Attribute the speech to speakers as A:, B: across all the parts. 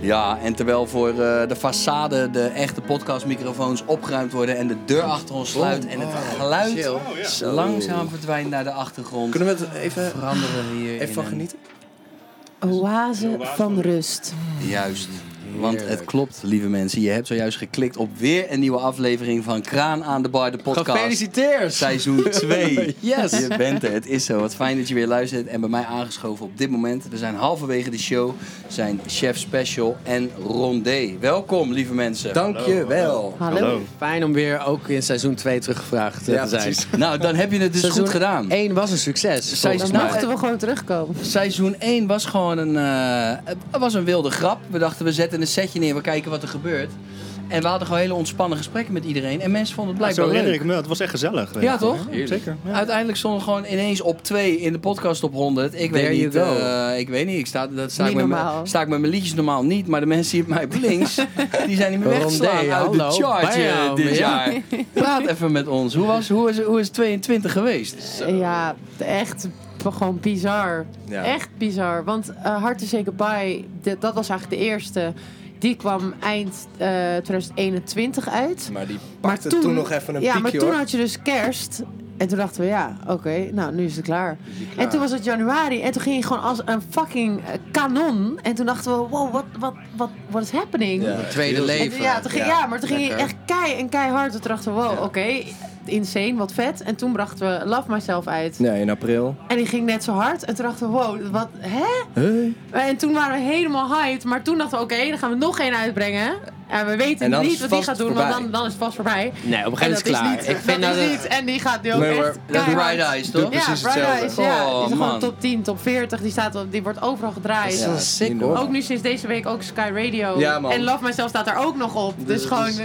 A: Ja, en terwijl voor eh, de façade de echte podcastmicrofoons opgeruimd worden en de deur achter ons sluit en het geluid
B: Oh, Chill.
A: langzaam verdwijnt naar de achtergrond,
B: Kunnen we het even,
A: veranderen we hier
B: even van
A: in een-
B: genieten?
C: Oase van rust.
A: Juist. Want het
B: Heerlijk.
A: klopt, lieve mensen. Je hebt zojuist geklikt op weer een nieuwe aflevering van Kraan aan de Bar, de podcast.
B: Gefeliciteerd!
A: Seizoen 2. Yes. Je bent er, het is zo. Wat fijn dat je weer luistert. En bij mij aangeschoven op dit moment, we zijn halverwege de show, zijn Chef Special en Rondé. Welkom, lieve mensen.
B: Dankjewel.
C: Hallo.
D: Fijn om weer ook in seizoen 2 teruggevraagd eh,
B: Ja,
D: te zijn.
B: precies.
A: Nou, dan heb je het dus goed gedaan.
D: 1 was een succes.
A: Zij-
D: volgens
C: Dan
A: Nou,
D: mij.
C: mochten we gewoon terugkomen.
A: Seizoen 1 was gewoon een, eh, het was een wilde grap. We dachten, we zetten een setje neer, we kijken wat er gebeurt. En we hadden gewoon hele ontspannen gesprekken met iedereen. En mensen vonden het
E: Zo
A: blijkbaar
E: herinner
A: leuk.
E: ik me, het was echt gezellig.
A: Ja, toch?
E: Zeker. ja.
A: Uiteindelijk stonden we gewoon ineens op 2 in de podcast op 100. Ik weet
D: There you
A: niet.
D: go.
A: eh, ik weet niet. Ik sta, dat sta, ik
C: Niet
A: met mijn,
C: normaal.
A: sta ik met mijn liedjes normaal niet. Maar de mensen hier op mij op links, die zijn niet meer weg te slaan
D: Rondé,
A: uit
D: hallo,
A: de charts eh,
D: bam,
A: dit
D: ja.
A: jaar. Praat even met ons. Hoe, was, hoe, is, hoe is 22 geweest?
C: Ja, echt b- gewoon bizar.
B: Ja.
C: Echt bizar. Want eh, Hard to Say Goodbye, de- dat was eigenlijk de eerste. Die kwam eind eh, 2021 uit.
B: Maar die pakte
C: Maar
B: toen, nog even een
C: Ja, maar
B: piekje
C: toen
B: hoor.
C: had je dus kerst. En toen dachten we, ja, oké, nou, nu is het klaar. En toen was het januari. En toen ging je gewoon als een fucking eh, kanon. En toen dachten we, wow, wat what, what, what is happening?
B: Ja.
D: Het tweede
B: Heel
C: En toen-
D: leven.
C: ja, toen ging,
B: Ja,
C: ja, maar toen ging je echt
D: lekker.
C: kei en keihard. En toen dachten we, wow, oké, insane, wat vet. En toen brachten we Love Myself uit.
B: Nee, in april.
C: En die ging net zo hard. En toen dachten we, wow, wat, hè? En toen waren we helemaal hyped. Maar toen dachten we, oké, dan gaan we nog één uitbrengen. En we weten
B: En dan is
C: niet
B: het
C: wat die
B: vast
C: gaat doen,
B: voorbij.
C: want dan, dan is het vast voorbij.
D: Nee, op een
C: En
D: gegeven moment is het klaar.
C: niet,
D: Ik vind
C: dat
D: dat het-
C: is niet. En die gaat nu ook
B: Nee, maar
C: echt
A: Dat is
C: keihard.
A: Bright Eyes, toch?
B: Doe- precies
C: ja, Bright
B: hetzelfde.
C: Eyes, ja.
A: Oh,
C: die is
A: man.
C: gewoon top 10, top 40. Die, staat op, die wordt overal gedraaid.
D: Dat is sick,
B: niet
D: hoor.
C: Ook nu sinds deze week ook Sky Radio.
B: Ja, man.
C: en Love Myself staat daar ook nog op. Dus,
B: Dus-
C: gewoon...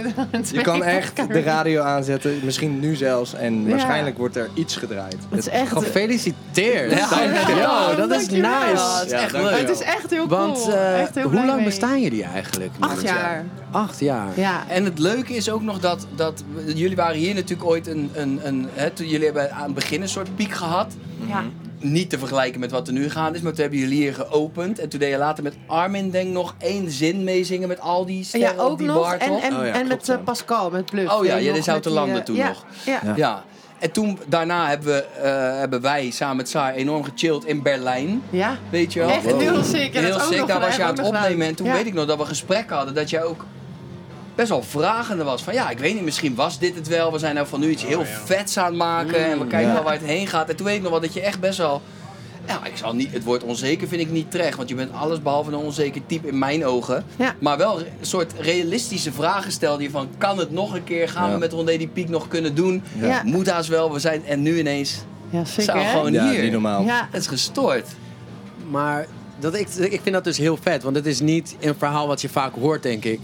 B: Je kan echt de radio aanzetten, misschien nu zelfs. En
C: Ja.
B: waarschijnlijk wordt er iets gedraaid.
C: Het is echt...
D: Gefeliciteerd.
A: Ja.
D: Dankjewel.
C: Ja,
D: Dat is
C: dankjewel.
D: nice.
C: Ja,
A: is echt
B: dankjewel.
A: leuk.
C: Het is echt heel cool.
D: Want eh,
C: Echt heel
D: hoe
C: blij
D: lang
C: mee.
D: bestaan jullie eigenlijk? nu?
C: Acht jaar.
D: Acht jaar.
C: Ja.
A: En het leuke is ook nog dat, dat we- jullie waren hier natuurlijk ooit een. een, een hè, toen jullie hebben aan het begin een soort piek gehad.
C: ja.
A: Niet te vergelijken met wat er nu gaande is, maar toen hebben jullie hier geopend. En toen deed je later met Armin, denk ik, nog één zin meezingen met al die sterren
C: Ja,
A: op
C: ook
A: die
C: nog.
A: bar,
C: En,
A: toch?
C: en,
B: Oh ja,
C: en
B: klopt,
C: met
B: ja.
C: eh, Pascal, met Bluff.
A: Oh ja,
C: Deed
A: jij
C: nog
A: deed
C: met die,
A: Zouterlanden
C: eh,
A: toen
C: ja,
A: nog.
C: Ja.
D: Ja.
A: Ja. En toen, daarna hebben, we, eh, hebben wij samen met Saar enorm gechilled in Berlijn.
C: Ja.
A: Weet je wel?
C: Echt heel sick. En dat
A: Heel
C: ook
A: sick,
C: nog
A: daar
C: gedaan,
A: was je aan
C: ook
A: het
C: nog gedaan.
A: opnemen. En toen
C: Ja.
A: weet ik nog dat we gesprekken hadden dat jij ook best wel vragende was. Van ja, ik weet niet, misschien was dit het wel. We zijn nou van nu iets heel vets aan het maken. en we
C: Mm,
A: kijken wel waar het heen gaat. En toen weet ik nog wel dat je echt best wel... Ja, ik zal niet, het woord onzeker vind ik niet terecht. Want je bent alles behalve een onzeker type in mijn ogen.
C: Ja.
A: Maar wel een soort realistische vragen stelde je van... Kan het nog een keer? Gaan we
B: Ja.
A: met Rondé die piek nog kunnen doen?
C: Ja. Ja.
A: Moet haast wel. We zijn, en nu ineens...
C: Ja, sick
A: Zou
C: hè?
A: gewoon-
B: Ja,
A: Hier.
B: niet normaal.
C: Ja.
A: Het is gestoord.
D: Maar dat, ik, ik vind dat dus heel vet. Want het is niet een verhaal wat je vaak hoort, denk ik.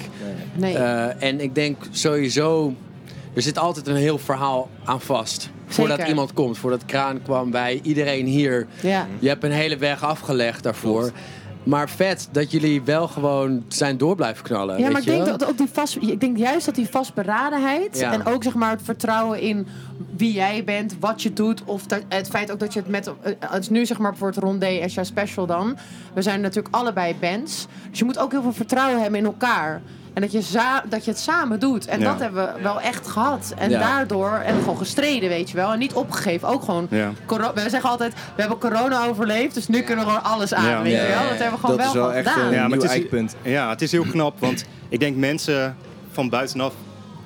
C: Nee.
D: Eh, en ik denk sowieso, er zit altijd een heel verhaal aan vast. Voordat
C: Zeker.
D: iemand komt, voordat Kraan kwam, wij, iedereen hier.
C: ja.
D: Je hebt een hele weg afgelegd daarvoor. Maar vet dat jullie wel gewoon zijn door blijven knallen.
C: Ja,
D: weet
C: maar ik
D: je
C: denk,
D: wel?
C: dat, ook die vast, ik denk juist dat die vastberadenheid
D: Ja.
C: en ook zeg maar, het vertrouwen in wie jij bent, wat je doet. Of dat, het feit ook dat je het met. eh, Het is nu zeg maar voor het Rondé en jouw special dan. We zijn natuurlijk allebei bands. Dus je moet ook heel veel vertrouwen hebben in elkaar. En dat je, za- dat je het samen doet. En
B: Ja.
C: dat hebben we wel echt gehad. En
D: Ja.
C: daardoor en gewoon gestreden, weet je wel. En niet opgegeven. Ook gewoon.
E: Ja.
C: coro- we zeggen altijd: we hebben corona overleefd. Dus nu kunnen we gewoon alles aan.
E: Ja.
C: Weet je
B: Ja.
C: wel. Dat hebben we gewoon
B: Dat is
C: wel,
B: wel
C: gewoon
B: echt,
C: gedaan.
B: eh,
E: Ja, maar
B: Nieuw
E: het is,
B: eikpunt.
E: ja, het is heel knap, want ik denk mensen van buitenaf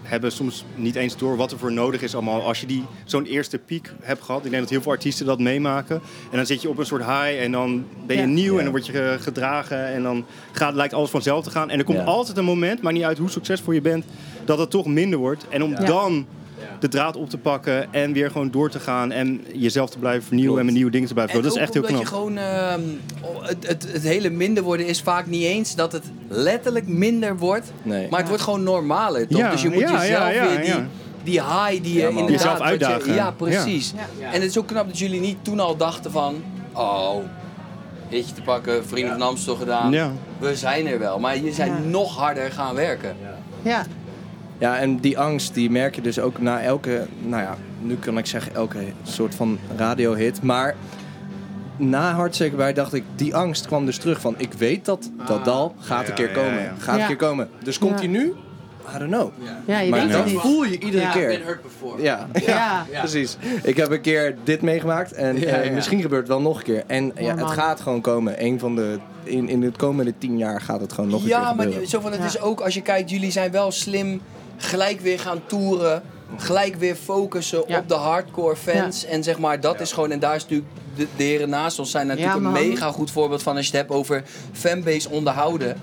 E: hebben soms niet eens door wat er voor nodig is allemaal. Als je die, zo'n eerste piek hebt gehad, ik denk dat heel veel artiesten dat meemaken. En dan zit je op een soort high en dan ben je
C: Ja.
E: nieuw
B: Ja.
E: en dan word je eh, gedragen. En dan gaat, lijkt alles vanzelf te gaan. En er komt
B: Ja.
E: altijd een moment, maakt niet uit hoe succesvol je bent, dat het toch minder wordt. En om
C: Ja.
E: dan de draad op te pakken en weer gewoon door te gaan. En jezelf te blijven vernieuwen
B: Klopt.
E: en met nieuwe dingen te blijven doen. Dat is
A: ook
E: echt heel
A: omdat
E: knap.
A: je gewoon... ehm, het, het, het hele minder worden is vaak niet eens dat het letterlijk minder wordt.
B: Nee.
A: Maar het wordt gewoon normaler, toch?
E: Ja,
A: dus je moet
E: ja, ja,
A: jezelf
E: ja,
A: weer die,
E: ja.
A: die high die je
B: man.
A: inderdaad...
E: Jezelf
A: wat je-
E: uitdagen.
A: ja, precies.
C: Ja.
A: En het is ook knap dat jullie niet toen al dachten van... Oh, hitje te pakken, vrienden van Amstel gedaan.
E: Ja.
A: We zijn er wel. Maar je zijn
C: Ja.
A: nog harder gaan werken.
C: Ja.
B: Ja, en die angst die merk je dus ook na elke, nou ja, nu kan ik zeggen elke soort van radiohit, maar na Hartzekerbaar dacht ik, die angst kwam dus terug van... ik weet dat dat dal gaat
E: Ah. Ja,
B: een keer
E: ja,
B: komen.
E: ja.
B: Gaat
C: Ja.
B: een keer komen. Dus komt
C: Ja.
B: hij nu? I don't know.
C: Ja, je
B: Maar
C: weet
E: dan
C: het niet.
D: Voel je iedere
C: Ja.
D: keer.
C: I've
D: hurt before.
B: Ja.
C: Ja.
D: Ja.
B: precies. Ik heb een keer dit meegemaakt en
D: Ja,
B: eh,
D: ja.
B: misschien gebeurt het wel nog een keer. En ja,
C: Ja,
B: het
C: man.
B: gaat gewoon komen. Eén van de, in, in de komende tien jaar gaat het gewoon nog een keer
A: Ja, maar
B: gebeuren.
A: die- zo van, het
C: Ja.
A: is ook als je kijkt, jullie zijn wel slim gelijk weer gaan toeren. Gelijk weer focussen
C: Ja.
A: op de hardcore fans. En zeg maar, dat is gewoon. En daar is natuurlijk. De, de heren naast ons zijn natuurlijk
C: Ja,
A: een
C: man.
A: mega goed voorbeeld van. Als je het hebt over fanbase onderhouden.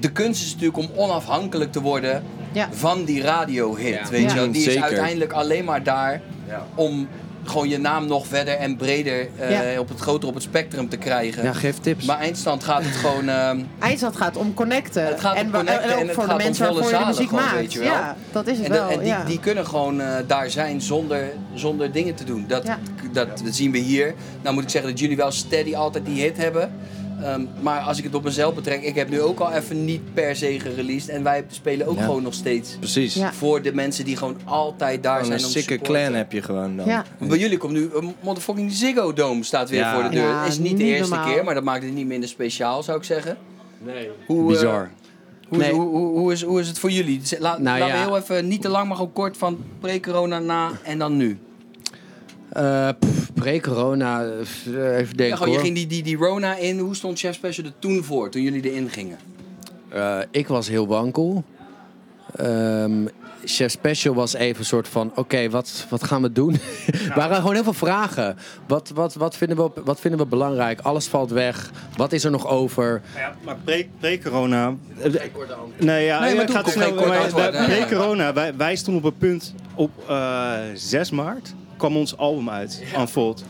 A: De kunst is natuurlijk om onafhankelijk te worden
C: Ja.
A: van die radiohit.
D: Ja.
A: Weet je wel,
B: Ja.
A: die is
B: Zeker.
A: uiteindelijk alleen maar daar
D: Ja.
A: om gewoon je naam nog verder en breder eh, op het groter op het spectrum te krijgen.
D: Ja, geef tips.
A: Maar eindstand gaat het gewoon. ehm,
C: IJsland gaat om connecten.
A: Het gaat om
C: en, wa-
A: connecten
C: en ook
A: en het
C: voor de
A: gaat om
C: mensen
A: volle
C: waarvoor je de
A: zalen
C: muziek
A: gewoon,
C: maakt.
A: weet je wel.
C: Ja, dat is het
A: En, de-
C: wel.
A: en die,
C: ja.
A: die kunnen gewoon eh, daar zijn zonder, zonder dingen te doen. Dat,
C: Ja.
A: dat, dat zien we hier. Nou moet ik zeggen dat jullie wel steady altijd die hit hebben. Ehm, maar als ik het op mezelf betrek, ik heb nu ook al even niet per se gereleased. En wij spelen ook
B: Ja.
A: gewoon nog steeds
B: Precies.
C: Ja.
A: voor de mensen die gewoon altijd daar
B: Gewoon
A: zijn
B: een
A: om te
B: sikke
A: supporten.
B: clan heb je gewoon dan.
C: Ja.
A: Bij jullie komt nu een motherfucking Ziggo Dome staat weer
B: Ja.
A: voor de deur.
C: Ja,
A: Dat is niet de
C: niet
A: eerste
C: normaal.
A: keer, maar dat maakt het niet minder speciaal, zou ik zeggen.
D: Nee.
A: Hoe, eh,
E: Bizar.
A: Hoe,
D: Nee.
A: hoe, hoe, hoe is, hoe is het voor jullie? Z- Laat,
D: Nou
A: laten we
D: ja.
A: heel even, niet te lang, maar gewoon kort van pre-corona na en dan nu.
D: Eh, pff, Pre-corona, eh, pff, eh, even
A: Ja,
D: denken
A: gewoon, je
D: hoor.
A: ging die, die, die Rona in. Hoe stond Chef Special er toen voor, toen jullie erin gingen?
D: Eh, ik was heel wankel. Ehm, Chef Special was even een soort van: oké, wat, wat gaan we doen? Er waren gewoon heel veel vragen. Wat, wat, wat, vinden we, op- wat vinden we belangrijk? Alles valt weg. Wat is er nog over?
E: Ja, maar pre- pre-corona. nee, ja,
A: Nee, maar
E: het
A: toen
E: gaat
A: kon
E: snel.
A: geen kort
E: maar
A: antwoord,
E: wij-
A: hè?
E: Pre-corona, wij, wij stonden op het punt. Op eh, 6 maart kwam ons album uit, Unfold.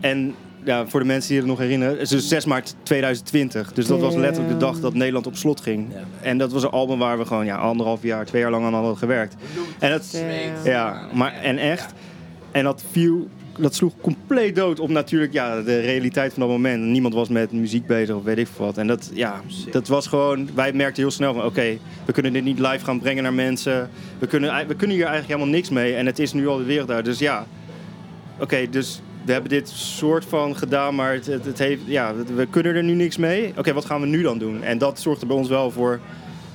E: En ja, voor de mensen die het nog herinneren, het is dus 6 maart 2020. Dus dat was letterlijk de dag dat Nederland op slot ging. En dat was een album waar we gewoon ja, anderhalf jaar, twee jaar lang aan hadden gewerkt. En dat,
C: Damn.
E: ja, maar en echt. En dat viel, dat sloeg compleet dood op natuurlijk ja, de realiteit van dat moment. Niemand was met muziek bezig of weet ik veel wat. En dat, ja, dat was gewoon, wij merkten heel snel van oké, we kunnen dit niet live gaan brengen naar mensen. We kunnen, we kunnen hier eigenlijk helemaal niks mee en het is nu al de wereld uit. Dus ja, oké, dus we hebben dit soort van gedaan, maar het, het, het heeft, ja, we kunnen er nu niks mee. Oké, wat gaan we nu dan doen? En dat zorgde bij ons wel voor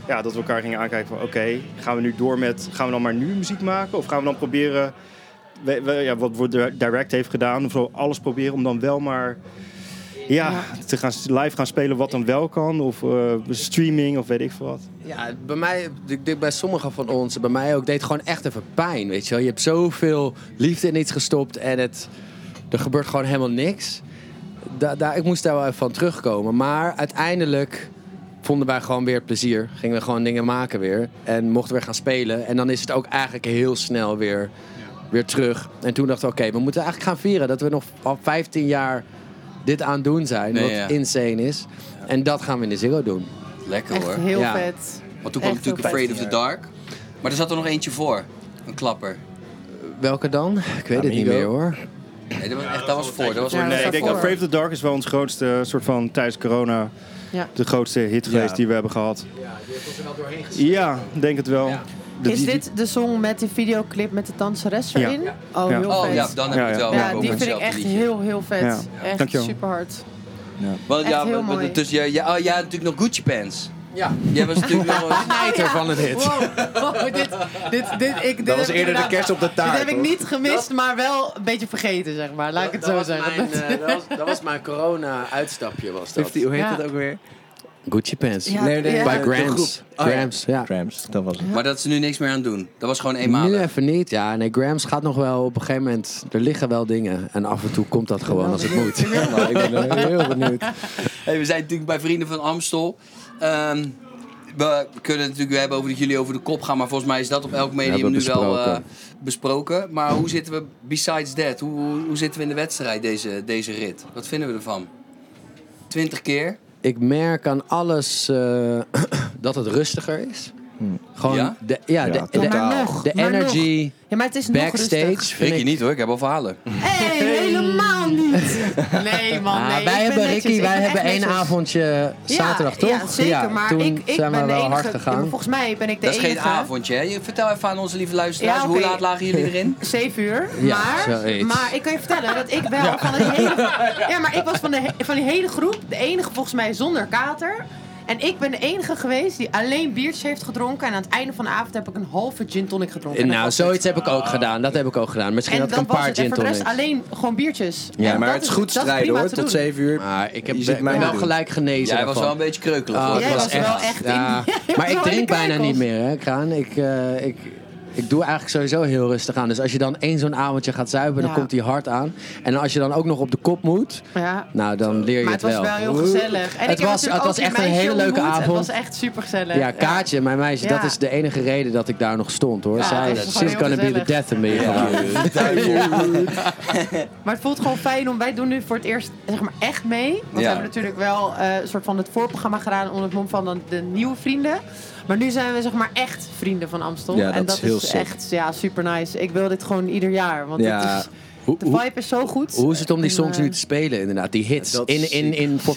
E: ja, dat we elkaar gingen aankijken van oké, gaan we nu door met, gaan we dan maar nu muziek maken? Of gaan we dan proberen, we, we- ja, wat Word Direct heeft gedaan, of zo, alles proberen om dan wel maar ja, te gaan s- live gaan spelen wat dan wel kan. Of eh, streaming of weet ik veel wat.
D: Ja, bij mij, ik denk bij sommigen van ons, bij mij ook, deed het gewoon echt even pijn. Weet je wel, je hebt zoveel liefde in iets gestopt en het, er gebeurt gewoon helemaal niks. Da, daar, ik moest daar wel even van terugkomen. Maar uiteindelijk vonden wij gewoon weer plezier. Gingen we gewoon dingen maken weer. En mochten we weer gaan spelen. En dan is het ook eigenlijk heel snel weer, weer terug. En toen dachten we, oké, we moeten eigenlijk gaan vieren dat we nog al 15 jaar dit aan het doen zijn.
A: Nee,
D: wat
A: ja.
D: insane is. En dat gaan we in de Ziggo doen.
A: Lekker
C: Echt
A: hoor.
C: heel
D: Ja.
C: vet.
A: Want toen kwam
C: echt
A: natuurlijk
C: heel
A: Afraid of the Dark. Maar er zat er nog eentje voor. Een klapper.
D: Welke dan? Ik weet het niet
B: Amigo.
D: meer hoor.
A: Nee, dat was, echt, dat was voor. Dat was
C: Ja,
A: voor.
E: nee,
C: dat
E: ik denk
C: voor.
E: dat Brave the Dark is wel ons grootste soort van tijdens corona
C: Ja.
E: de grootste hit geweest die we hebben gehad.
D: Ja, die heeft ons er wel doorheen gezet.
E: Ja, denk het wel.
D: Ja.
E: De-
C: Is
E: die-
C: dit de song met de videoclip met de danseres
E: Ja.
C: erin? Oh,
E: Ja.
C: heel
A: Oh
C: vet.
A: ja, dan heb ik
E: Ja,
A: het
E: ja.
A: wel.
C: Ja,
A: over
C: die vind ik
A: hetzelfde
C: echt
A: liedje.
C: heel, heel vet.
E: Ja.
C: Echt
E: Dankjewel.
C: super hard.
A: Want
C: echt
A: ja,
C: heel
A: we- we-
C: mooi.
A: Dus jij, ja, oh, jij had natuurlijk nog Gucci Pants.
D: Ja.
A: Jij was natuurlijk nog...
D: Eiter van het hit.
C: dit, dit, dit, ik, dit
B: Dat
C: heb ik
B: was eerder de
C: inderdaad-
B: kerst op de taart.
C: Dit heb ik
B: hoor.
C: niet gemist, maar wel een beetje vergeten, zeg maar. Laat ik het zo zeggen.
A: eh,
D: eh, dat was mijn corona-uitstapje was dat.
B: 50, hoe heet
C: Ja.
B: dat ook weer?
D: Gucci pants.
C: Ja, Nee, nee, ja.
D: Bij
B: de
D: Grams.
B: groep. Oh, ja.
D: Grams, ja.
B: Grams, dat was het.
A: Maar dat ze nu niks meer aan doen. Dat was gewoon
D: Nu
A: eenmalig.
D: even niet, ja. Nee, Grams gaat nog wel op een gegeven moment... Er liggen wel dingen. En af en toe komt dat gewoon als het moet.
B: Nou, ik ben eh, heel benieuwd.
A: Hey, we zijn natuurlijk bij Vrienden van Amstel. Ehm, we kunnen het natuurlijk weer hebben over dat jullie over de kop gaan. Maar volgens mij is dat op elk medium
D: Hebben we
A: nu wel eh,
D: besproken.
A: besproken. Maar hoe zitten we, besides that, hoe, hoe- hoe zitten we in de wedstrijd deze, deze rit? Wat vinden we ervan? Twintig keer?
D: Ik merk aan alles eh, dat het rustiger is. Gewoon
A: Ja?
D: de, ja,
B: Ja,
D: de, de,
B: totaal.
C: Maar nog,
D: de
C: maar nog.
D: energy
C: Ja, maar het is nog
D: backstage.
C: rustig.
D: Vind
A: Ik
D: ik,
A: niet hoor, ik heb al verhalen.
C: Hey, helemaal niet. Nee, man.
D: Ah,
C: Nee,
D: wij
C: ik
D: hebben,
C: ben netjes,
D: Ricky,
C: ik
D: wij
C: ben
D: hebben
C: echt
D: één
C: netjes.
D: avondje zaterdag,
C: ja,
D: toch?
C: Ja, zeker.
D: Ja,
C: maar
D: toen
C: ik, ik
D: zijn
C: ben
D: we
C: de
D: wel
C: enige,
D: hard
C: ja,
D: gegaan.
C: maar volgens mij ben ik de
A: Dat is
C: enige.
A: geen avondje, hè? Je- Vertel even aan onze lieve luisteraars,
C: Ja,
A: hoe
C: oké.
A: laat lagen jullie erin?
C: Zeven uur.
D: Ja,
C: maar,
D: zoiets.
C: maar ik kan je vertellen dat ik wel van een hele... Ja, maar ik was van, de, he- van die hele groep de enige volgens mij zonder kater. En ik ben de enige geweest die alleen biertjes heeft gedronken. En aan het einde van de avond heb ik een halve gin tonic gedronken. En dat
D: Nou,
C: was het.
D: zoiets heb ik ook gedaan. Dat heb ik ook gedaan. Misschien
C: Ah. En
D: had ik
C: dat
D: een
C: was
D: paar
C: het. En
D: gin
C: voor de rest
D: tonics.
C: alleen gewoon biertjes.
B: Ja,
C: En
B: maar
C: dat
B: het is
C: is-
B: goed
C: dat is
B: strijden
C: prima
B: hoor,
C: te
B: tot
C: doen.
B: 7 uur.
D: Maar ik heb
B: Je ziet
D: ik
B: mij
D: ben wel
B: doen.
D: gelijk genezen.
A: Jij was
D: daarvan.
A: wel een beetje kreukelig.
D: Ah,
A: hoor.
C: Jij
D: het
A: Dat
C: was wel echt in die-
D: ja.
C: jij was
D: Maar
C: wel
D: ik
C: in de
D: drink bijna
C: keukels.
D: niet meer, hè, Kraan. Ik, eh, ik, ik doe eigenlijk sowieso heel rustig aan. Dus als je dan één zo'n avondje gaat zuipen, dan
C: Ja.
D: komt die hard aan. En als je dan ook nog op de kop moet,
C: Ja.
D: nou, dan leer je
C: Maar
D: het
C: het
D: wel.
C: was wel heel gezellig. En
D: Het was-
C: ik heb natuurlijk
D: het
C: ook
D: was
C: die
D: echt een
C: meisje
D: hele leuke
C: ontmoet.
D: avond.
C: Het was echt super gezellig.
D: Ja, Kaatje, mijn meisje,
C: Eh, Ja.
D: dat is de enige reden dat ik daar nog stond, hoor.
C: Ja,
D: Zij
C: dat is
D: is
C: gewoon
D: she's
C: heel
D: gonna be the
C: gezellig.
D: death of me.
C: Maar het voelt gewoon fijn om. Wij doen nu voor het eerst zeg maar, echt mee. Want we
A: Ja.
C: hebben natuurlijk wel eh, een soort van het voorprogramma gedaan onder het mom van de, de nieuwe vrienden. Maar nu zijn we zeg maar echt vrienden van Amstel.
B: Ja,
C: en
B: dat
C: dat
B: is heel
C: is
B: sick.
C: echt ja, super nice. Ik wil dit gewoon ieder jaar. Want
B: Ja.
C: het is,
D: Hoe,
C: de
D: hoe-
C: vibe is zo goed.
D: hoe is het om die
C: En,
D: songs
C: eh,
D: nu te spelen, inderdaad? Die hits
B: Dat
D: in,
B: is
D: in, in, voor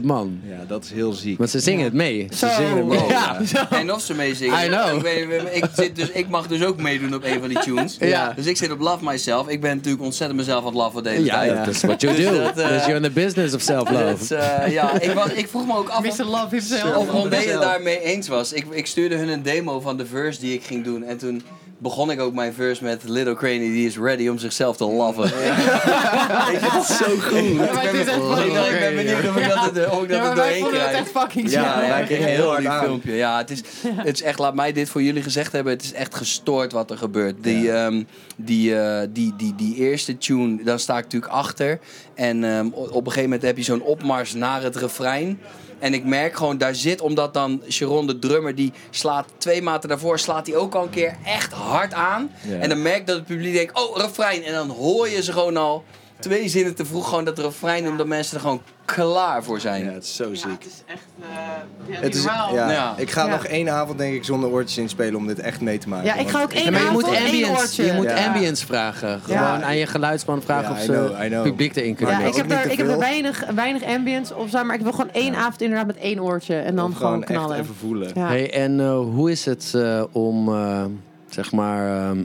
D: 15.000 man.
B: Ja, dat is heel ziek.
D: Want ze zingen het mee.
C: Zo.
A: Wow.
D: Ja.
A: En of ze meezingen.
D: I know.
A: Ik, weet- ik, zit dus, ik mag dus ook meedoen op een van die tunes.
D: Ja.
A: Dus ik zit op Love Myself. Ik ben natuurlijk ontzettend mezelf aan het laffen de hele
D: Ja,
A: tijd.
D: dat is what you do.
A: dat, eh,
D: Dus you're in the business of
A: Dus,
D: self-love.
A: eh, ja, ik, was, ik vroeg me ook af of-
C: Mr. Love himself.
A: of Rondé het daarmee eens was. Ik, ik stuurde hun een demo van de verse die ik ging doen. En toen begon ik ook mijn verse met Little Cranny, die is ready om zichzelf te laffen. ik vind het zo goed. Ik ben,
C: het is echt fucking
A: ik ben benieuwd of ik dat, het- of ik dat er
C: Ja, maar wij
A: doorheen
C: vonden het
A: krijg.
C: echt fucking
B: Ja,
C: gezellig.
B: wij
A: Ja, ik kreeg een heel hard
B: aan.
A: filmpje. Ja, het is, het is echt, laat mij dit voor jullie gezegd hebben. Het is echt gestoord wat er gebeurt. Die, ehm, die, eh, die, die, die eerste tune, daar sta ik natuurlijk achter. En ehm, o- op een gegeven moment heb je zo'n opmars naar het refrein. En ik merk gewoon, daar zit, omdat dan Sharon de drummer, die slaat twee maten daarvoor, slaat die ook al een keer echt hard aan.
B: Ja.
A: En dan merk ik dat het publiek denkt, oh, refrein. En dan hoor je ze gewoon al twee zinnen te vroeg, gewoon dat refrein, omdat mensen er gewoon klaar voor zijn.
B: Ja, het is zo ziek.
C: is echt ja,
B: Het is, ja,
A: Ja.
B: Ik ga
C: Ja.
B: nog één avond denk ik zonder oortjes inspelen om dit echt mee te maken.
C: Ja, ik ga
B: want-
C: ook één
D: Ja, maar je moet
C: avond, één
D: ambience,
C: oortje.
D: je moet
B: Ja.
D: ambience vragen. Gewoon
C: Ja.
D: aan je geluidsman vragen
B: Ja,
D: of
B: I
D: ze
B: know, I know.
D: publiek erin kunnen
C: Ja,
B: Maar
C: ik
D: brengen.
B: ook
C: heb,
B: niet
C: er,
B: te
C: ik heb er
B: veel.
C: weinig, weinig ambience op zijn, maar ik wil gewoon één avond inderdaad met één oortje. En dan
B: Of
C: gewoon,
B: echt
C: knallen.
B: even voelen.
C: Ja.
D: Hey, en eh, hoe is het eh, om, eh, zeg maar, ehm,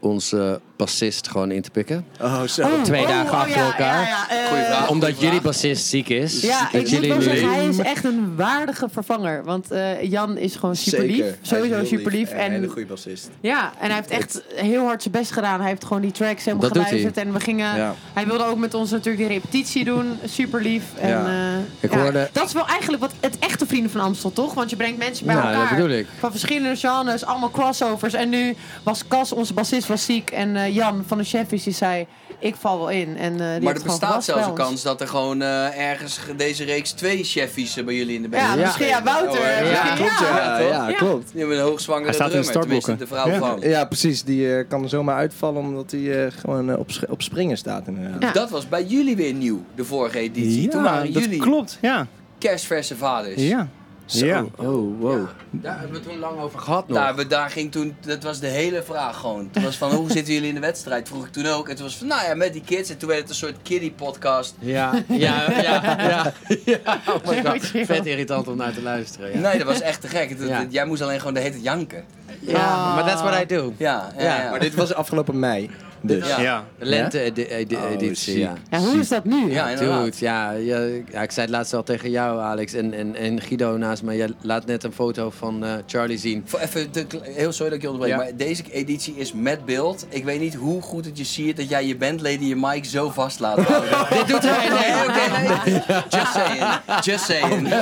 D: onze bassist gewoon in te pikken?
B: Oh, zo.
D: twee dagen achter
C: Hmm. ja,
D: elkaar.
C: Ja, ja, eh,
A: Goeie vraag.
D: Omdat
A: goeie
D: jullie
A: vraag.
D: bassist ziek is.
C: ja,
D: dat
C: ik moet
D: jullie
C: wel
D: nu-
C: zeggen, hij is echt een waardige vervanger. Want eh, Jan is gewoon super
B: Zeker. Hij
C: lief.
B: is
C: Sowieso
B: heel
C: super lief.
B: En een hele
C: En,
B: goede bassist.
C: ja, en hij heeft echt heel hard zijn best gedaan. Hij heeft gewoon die tracks helemaal
D: Dat doet
C: geluisterd. En we gingen,
B: Ja.
C: hij wilde ook met ons natuurlijk die repetitie doen. Super lief. En,
B: Ja.
C: eh,
D: Ik
C: ja,
D: hoorde-
C: Dat is wel eigenlijk wat het echte Vrienden van Amstel, toch? Want je brengt mensen bij
D: Nou, dat
C: elkaar.
D: bedoel ik.
C: Van verschillende genres, allemaal crossovers. En nu was Cas, onze bassist, was ziek. En eh, Jan van de Cheffies, die zei, ik val wel in. En, eh, die
A: Maar er
C: heeft gewoon
A: bestaat
C: gepast bij
A: zelfs een
C: ons.
A: kans dat er gewoon eh, ergens ge- deze reeks twee cheffies eh, bij jullie in de band
C: Ja,
A: zijn.
C: misschien ja, Wouter.
A: Ja,
C: misschien-
B: klopt. Ja,
A: toch?
B: ja,
C: Ja.
B: klopt.
A: Die hebben een hoogzwangere
E: Hij staat in de
A: drummer, tenminste de vrouw
E: startblokken.
A: van.
B: Ja, precies. Die eh, kan er zomaar uitvallen omdat hij gewoon eh, op, sch- op springen staat. eh. Inderdaad.
C: Ja.
A: Dat was bij jullie weer nieuw, de vorige editie. Toen
E: Ja,
A: waren
E: dat
A: jullie
E: klopt. Ja.
A: kerstverse vaders.
E: Ja. Ja.
D: Oh, wow.
A: Daar hebben we toen lang over
D: Gehad nog.
A: Daar, we, daar ging toen, dat was de hele vraag gewoon. Het was van, hoe zitten jullie in de wedstrijd? Vroeg ik toen ook. En toen was van, nou ja, met die kids. En toen werd het een soort kiddie-podcast.
D: Ja, ja, ja. ja, ja. Oh my God.
C: Ja,
D: Vet irritant om naar te luisteren. Ja,
A: Nee, dat was echt te gek. Het- het-
D: Ja.
A: Jij moest alleen gewoon de hele tijd janken.
D: ja Ah, maar that's what I do.
A: Ja, ja,
D: Ja,
A: ja.
B: Maar dit was afgelopen mei. Dus.
A: Ja.
E: Ja.
D: De Lente-editie,
B: Oh,
D: ja.
C: Ja, hoe is dat nu?
A: Ja, inderdaad.
D: Dude, ja, ja, ja, ik zei het laatst al tegen jou, Alex, en, en, en Guido naast mij. Jij laat net een foto van eh, Charlie zien.
A: Voor even te- heel sorry dat ik je onderbreek,
D: Ja.
A: maar deze editie is met beeld. Ik weet niet hoe goed het je siert dat jij je bandleden je mic zo vast laat houden.
D: Dit doet hij.
A: Nee, oké, nee. Just saying. Just saying.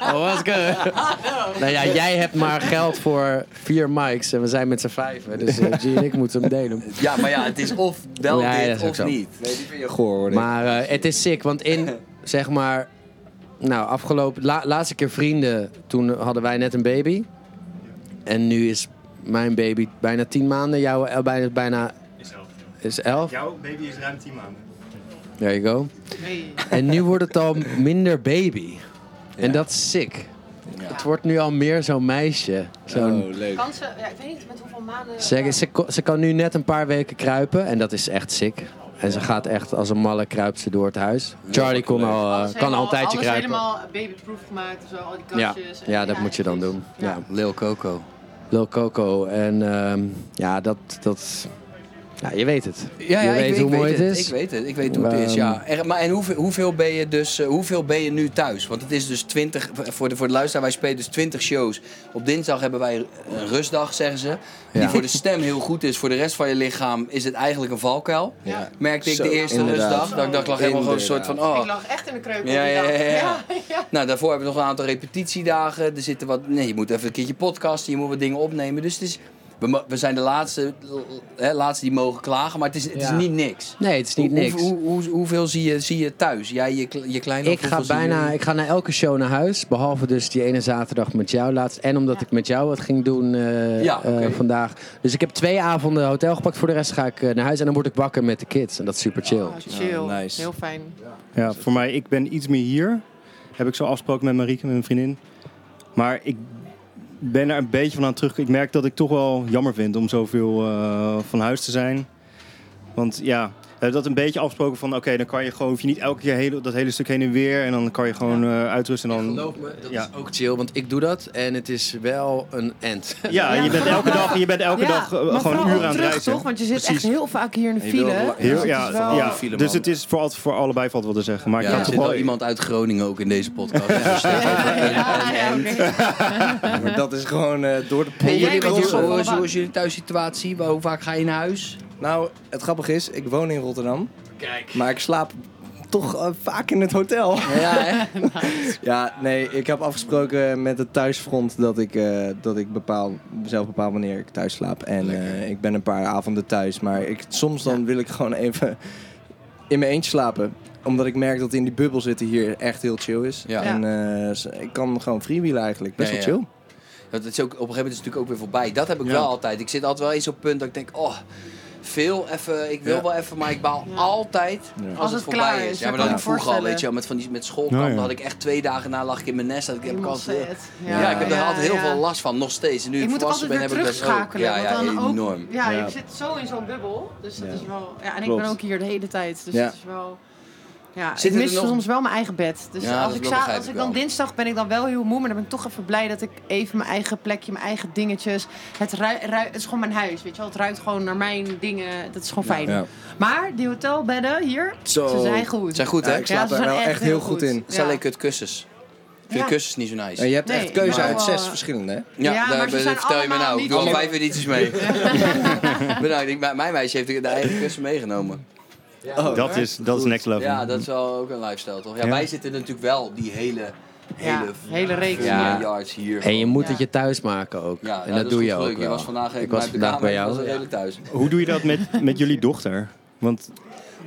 D: Oh, was good. nou ja, jij hebt maar geld voor vier mics en we zijn met z'n vijven. Dus eh, G en ik moeten hem delen.
A: Ja, maar ja, het is of wel
D: Ja, ja, dat
A: dit
D: is ook
A: of
D: zo.
A: niet.
B: Nee, die vind je goor hoor. Maar,
D: Maar eh, het is sick, want in zeg maar. Nou, afgelopen. la- laatste keer vrienden. Toen hadden wij net een baby. En nu is mijn baby bijna tien maanden. Jouw eh, bijna. bijna is elf.
E: Jouw baby is ruim 10 maanden.
D: There you go. En nu wordt het al minder baby. En dat is sick.
A: Ja.
D: het wordt nu al meer zo'n meisje. Zo'n
B: Oh, leuk.
C: Kan ze, ja, ik weet niet met hoeveel maanden...
D: Ze, ze, ko- ze kan nu net een paar weken kruipen en dat is echt sick. En ze gaat echt als een malle kruipt ze door het huis. Charlie kon al, eh,
C: Alles
D: kan al
C: helemaal-
D: een tijdje
C: alles
D: kruipen.
C: helemaal babyproof gemaakt, zo, al die
D: Ja,
C: kastjes. en-
D: ja, dat moet je dan
C: het is-
D: doen. Ja.
A: Lil Coco.
D: Lil Coco. En ehm, ja, dat, dat... Ja, je weet het.
A: Ja, ja
D: je
A: ik
D: weet
A: weet,
D: hoe
A: ik
D: mooi
A: weet
D: het
A: het,
D: is.
A: Ik weet het, ik weet hoe het is, ja. Er- maar en hoeveel, hoeveel ben je dus, eh, hoeveel ben je nu thuis? Want het is dus 20, voor de, voor de luisteraar, wij spelen dus 20 shows. Op dinsdag hebben wij een rustdag, zeggen ze. Die
D: Ja.
A: voor de stem heel goed is. Voor de rest van je lichaam is het eigenlijk een valkuil.
C: Ja.
A: Merkte ik
B: Zo,
A: de eerste
B: inderdaad.
A: rustdag. Dat ik dacht, ik lag helemaal gewoon een soort van, oh.
C: Ik lag echt in de kreupel.
A: Ja,
C: die
A: ja,
C: dag.
A: ja, ja.
C: ja.
A: Nou, daarvoor hebben we nog een aantal repetitiedagen. Er zitten wat. Nee, je moet even een keertje podcasten, je moet wat dingen opnemen. Dus het is. We, mo- we zijn de laatste, hè, laatste die mogen klagen, maar het is, het
D: Ja.
A: is niet niks.
D: Nee, het is niet
A: Hoe-
D: niks.
A: Hoe, hoe, hoeveel zie je, zie je thuis? Jij, je, kle- je kleine?
D: Ik ga bijna, ik ga naar elke show naar huis. Behalve dus die ene zaterdag met jou laatst. En omdat ik met jou wat ging doen eh,
A: Ja,
D: eh,
A: oké.
D: vandaag. Dus ik heb twee avonden hotel gepakt. Voor de rest ga ik eh, naar huis. En dan word ik wakker met de kids. En dat is super chill.
C: Oh, chill.
A: Ja, nice.
C: Heel fijn.
E: Ja, voor mij, ik ben iets meer hier. Heb ik zo afgesproken met Marieke, met mijn vriendin. Maar ik ben er een beetje van aan terug. Ik merk dat ik toch wel jammer vind om zoveel eh, van huis te zijn. Want ja, we hebben dat een beetje afgesproken van... oké, dan kan je gewoon... hoef je niet elke keer hele, dat hele stuk heen en weer... en dan kan je gewoon eh, uitrusten en dan...
D: Geloof me, dat
E: Ja.
D: is ook chill, want ik doe dat en het is wel een end.
E: Ja,
C: Ja,
E: je bent
C: maar-
E: elke dag, je bent elke
C: Ja,
E: dag eh,
C: maar
E: gewoon
C: vooral
E: uren
C: ook
E: aan het
C: terug,
E: reizen.
C: toch? Want je zit
E: Precies.
C: echt heel vaak hier in de
B: En je wil
C: file.
B: la-
E: Heel-
B: Ja,
E: ja,
C: het is wel-
E: ja,
B: file,
E: dus
B: man.
E: het is voor, altijd, voor allebei valt wat te zeggen. Maar ik
A: Ja,
E: kan
A: er
E: toch
A: zit wel
E: wel
A: iemand uit Groningen ook in deze podcast. Dus, eh,
C: Ja, ja, oké.
B: Maar dat is gewoon eh, door de
A: En
B: ponden
A: jullie,
C: bent
A: hoe,
C: hier
B: crossen.
A: hoe, is- hoe is jullie thuissituatie? Waar- Hoe vaak ga je naar huis?
B: Nou, het grappige is, ik woon in Rotterdam. Kijk. Maar ik slaap toch eh, vaak in het hotel.
A: Ja, hè?
B: Ja, nee, ik heb afgesproken met het thuisfront dat ik, eh, dat ik bepaal, zelf bepaal wanneer ik thuis slaap. En eh, ik ben een paar avonden thuis, maar ik, soms dan wil ik gewoon even in mijn eentje slapen. Omdat ik merk dat in die bubbel zitten hier echt heel chill is.
A: Ja.
B: En eh, s- ik kan gewoon freewheelen eigenlijk, best
A: Ja,
B: wel
A: ja.
B: chill.
A: Dat is ook, op een gegeven moment is het natuurlijk ook weer voorbij. Dat heb ik
E: Ja.
A: wel altijd. Ik zit altijd wel eens op het punt dat ik denk, oh, veel even, ik wil
B: Ja.
A: wel even, maar ik baal
C: Ja.
A: altijd
B: Ja.
A: als,
C: Als
A: het,
C: het
A: voorbij
C: klaar
A: is.
C: is,
A: Ja,
C: ja,
A: maar dat
C: kan ik
A: ik vroeger al,
C: voorstellen.
A: weet je wel, met van die met schoolkamp,
E: Ja, ja.
A: dan had ik echt twee dagen na lag ik in mijn nest. Dat ik, heb ik
C: Helemaal
A: altijd,
C: zet.
A: ja, ik heb
C: ja,
A: er altijd heel
C: ja.
A: veel last van, nog steeds. En nu
C: Je
A: ik
C: moet ook
A: volwassen
C: altijd
A: ben,
C: weer
A: heb ik dat ook.
C: terugschakelen.
A: Ja,
C: want
A: ja,
C: dan ook-
A: enorm.
C: Ja,
B: Ja.
C: je zit zo in zo'n bubbel. Dus dat
B: Ja.
C: is wel... Ja, en ik
B: Klopt.
C: ben ook hier de hele tijd. Dus
B: Ja.
C: dat is wel... Ja,
A: Zitten
C: ik mis
A: er nog-
C: soms wel mijn eigen bed. Dus
A: Ja, dat
C: als, ik,
A: wel
C: za-
A: begrijp
C: als
A: ik
C: ik dan
A: wel.
C: dinsdag ben ik dan wel heel moe. Maar dan ben ik toch even blij dat ik even mijn eigen plekje, mijn eigen dingetjes. Het, rui- rui- het is gewoon mijn huis, weet je wel. Het ruikt gewoon naar mijn dingen. Dat is gewoon fijn.
B: Ja.
C: Maar die hotelbedden hier,
B: Zo.
C: ze zijn goed.
A: Zijn goed,
B: Ja,
A: hè?
B: ik slaap
C: ze
B: er
C: zijn
B: wel echt heel goed in.
A: Het zijn alleen kut kussens. Ik vind
C: Ja.
A: de kussens niet zo nice.
B: En je hebt
C: Nee,
B: echt keuze
C: maar
B: uit
C: wel,
B: zes
C: eh,
B: verschillende, hè?
A: Ja,
C: Ja, maar
A: daar
C: ze
A: ben-
C: zijn
A: dat vertel je me
C: allemaal
A: nou. Ik
C: niet
A: doe al
C: allemaal-
A: vijf edities mee. Bedankt. Ik- mijn- Mijn meisje heeft de eigen kussen meegenomen.
B: Oh.
E: Dat is, dat is next level.
A: Ja, dat is wel ook een lifestyle, toch? Ja,
E: Ja.
A: wij zitten natuurlijk wel die hele...
C: Ja,
A: Hele,
C: hele reeks.
A: Ja,
D: Ja.
A: yards hier.
D: En je moet
C: Ja.
D: het je thuis maken ook.
A: Ja, nou,
D: en dat,
A: is
D: doe
A: goed
D: je ook
A: gelukt. Je
D: wel.
A: was vandaag
D: ik
A: even
D: was
A: uit de
D: vandaag
A: kamer,
D: bij
A: ik was
D: jou.
A: er redelijk thuis.
E: Hoe doe je dat met, met jullie dochter? Want,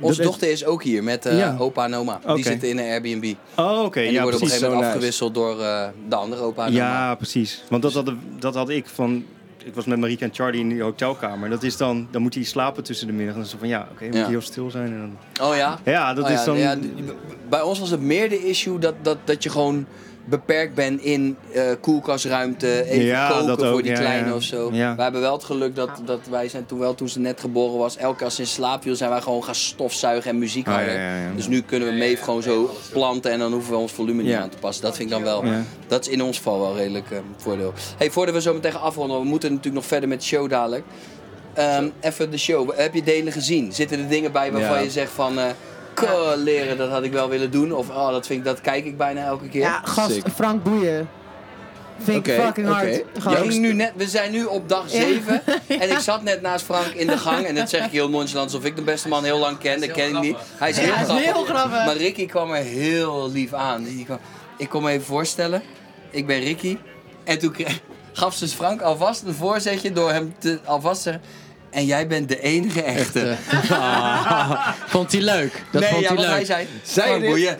A: Onze
E: dat is-
A: dochter is ook hier met eh,
E: Ja.
A: opa en oma.
E: Oké.
A: Die zitten in een Airbnb. En
E: oh, oké.
A: die worden
E: ja,
A: op een
E: precies.
A: gegeven moment
B: zo
A: afgewisseld door eh, de andere opa en oma.
E: Ja, precies. Want dat had, dat had ik van... Ik was met Marieke en Charlie in die hotelkamer. Dat is dan, dan moet hij slapen tussen de middag. En dan is het van, ja, oké, moet
A: Ja.
E: hij heel stil zijn. En dan...
A: Oh ja?
E: Ja, dat
A: Oh ja,
E: is dan...
A: ja, d- bij ons was het meer de issue dat, dat, dat je gewoon beperkt bent in eh, koelkasruimte. Even
E: Ja,
A: koken
E: dat ook,
A: voor die
E: ja,
A: kleine
E: ja.
A: of zo.
E: Ja.
A: We hebben wel het geluk dat, dat wij zijn toen wel, toen ze net geboren was, elke keer als ze in slaap viel, zijn wij gewoon gaan stofzuigen en muziek
E: Ah, ja,
A: houden.
E: ja, ja.
A: Dus nu kunnen we mee gewoon zo planten en dan hoeven we ons volume niet
E: Ja.
A: aan te passen. Dat vind ik dan wel.
E: Ja.
A: Dat is in ons geval wel redelijk eh, een voordeel. Hey, voordat we zo meteen gaan afronden, we moeten natuurlijk nog verder met de show dadelijk. Ehm, even de show. Heb je delen gezien? Zitten er dingen bij waarvan
B: Ja.
A: je zegt van... eh "Ko, leren, dat had ik wel willen doen. Of oh, dat, vind ik, dat kijk ik bijna elke keer.
C: Ja, gast,
B: Sick.
C: Frank Boeien. Vind ik
B: Oké,
C: fucking hard.
B: oké.
A: Je
C: Gast.
A: ging nu net, we zijn nu op dag 7 en ik zat net naast Frank in de gang. En dat zeg ik heel nonchalant, alsof ik de beste man heel lang ken. Dat ken ik niet. Hij is heel,
C: Ja, hij is
A: grappig.
C: heel grappig.
A: Maar Ricky kwam er heel lief aan. Die kwam- ik kon me even voorstellen, ik ben Ricky. En toen kreeg- gaf ze Frank alvast een voorzetje door hem te, alvast te zeggen... En jij bent de enige echte.
D: Vond hij leuk? Dat
A: nee,
D: vond
A: ja,
D: hij
A: want
D: leuk.
A: hij zei...
B: Zij
A: Frank
B: dit?
A: Boeien.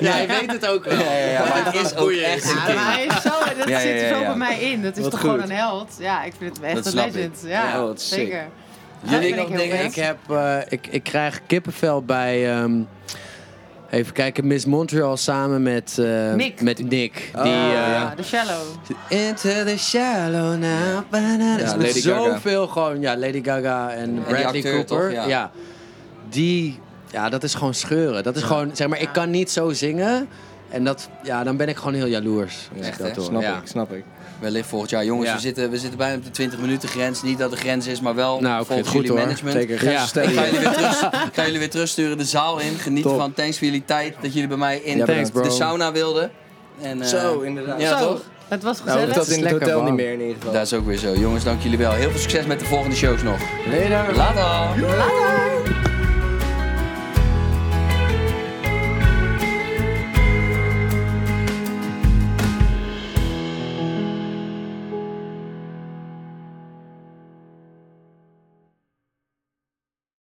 F: Ja, hij weet het ook wel.
A: Ja, ja, ja, maar het is ook
F: Boeien.
A: echt een
C: Ja, maar hij is zo,
A: Ja,
C: dat
A: ja,
C: zit er
A: ja,
C: zo
A: ja.
C: bij mij in. Dat is
B: Wat
C: toch
B: goed.
C: gewoon een held. Ja, ik vind het echt
A: Dat
C: een
A: snap
C: legend.
A: ik. Oh,
C: Ja,
B: Ja, wat sick.
C: zeker. Daar
A: Jullie
C: ben
A: nog
C: ik heel
A: dingen?
C: blij
D: Ik, heb, eh, ik, ik krijg kippenvel bij ehm, Even kijken, Miss Montreal samen met eh,
C: Nick.
D: Met Nick
A: Ah,
D: die, eh,
C: ja, de shallow.
D: Into the shallow now. banana.
A: Ja,
D: Ja,
A: Lady Gaga.
D: zoveel gewoon, ja, Lady Gaga en
A: die
D: Bradley
A: acteur,
D: Cooper.
A: toch? Ja.
D: ja. Die, ja, dat is gewoon scheuren. Dat is gewoon, zeg maar, ik kan niet zo zingen. En dat, ja, dan ben ik gewoon heel jaloers. als ik
A: Echt,
D: dat
A: hè?
D: hoor.
B: Snap
D: Ja.
B: ik, snap ik.
A: Wellicht volgend jaar. Jongens,
D: Ja.
A: we, zitten, we zitten bijna op de 20 minuten grens. Niet dat de grens is, maar wel
D: Nou, ik vind
A: volgens
D: het goed,
A: jullie
D: hoor.
A: management.
B: Zeker,
D: Ja.
B: grenzen
A: Ik ga
B: stellen.
A: jullie weer, terug, ik ga jullie weer terugsturen de zaal in. Geniet
B: Top.
A: van. Thanks voor jullie tijd dat jullie bij mij in
B: Ja,
D: Thanks,
A: de
D: bro.
A: sauna wilden. En, eh,
B: Zo, inderdaad.
A: Ja,
C: Zo,
A: toch?
C: het was
B: Nou,
C: gezellig.
B: dat is in het
D: Lekker
B: hotel niet
D: warm.
B: meer in ieder geval.
A: Dat is ook weer zo. Jongens, dank jullie wel. Heel veel succes met de volgende shows nog.
B: Later.
A: Later!
C: Later.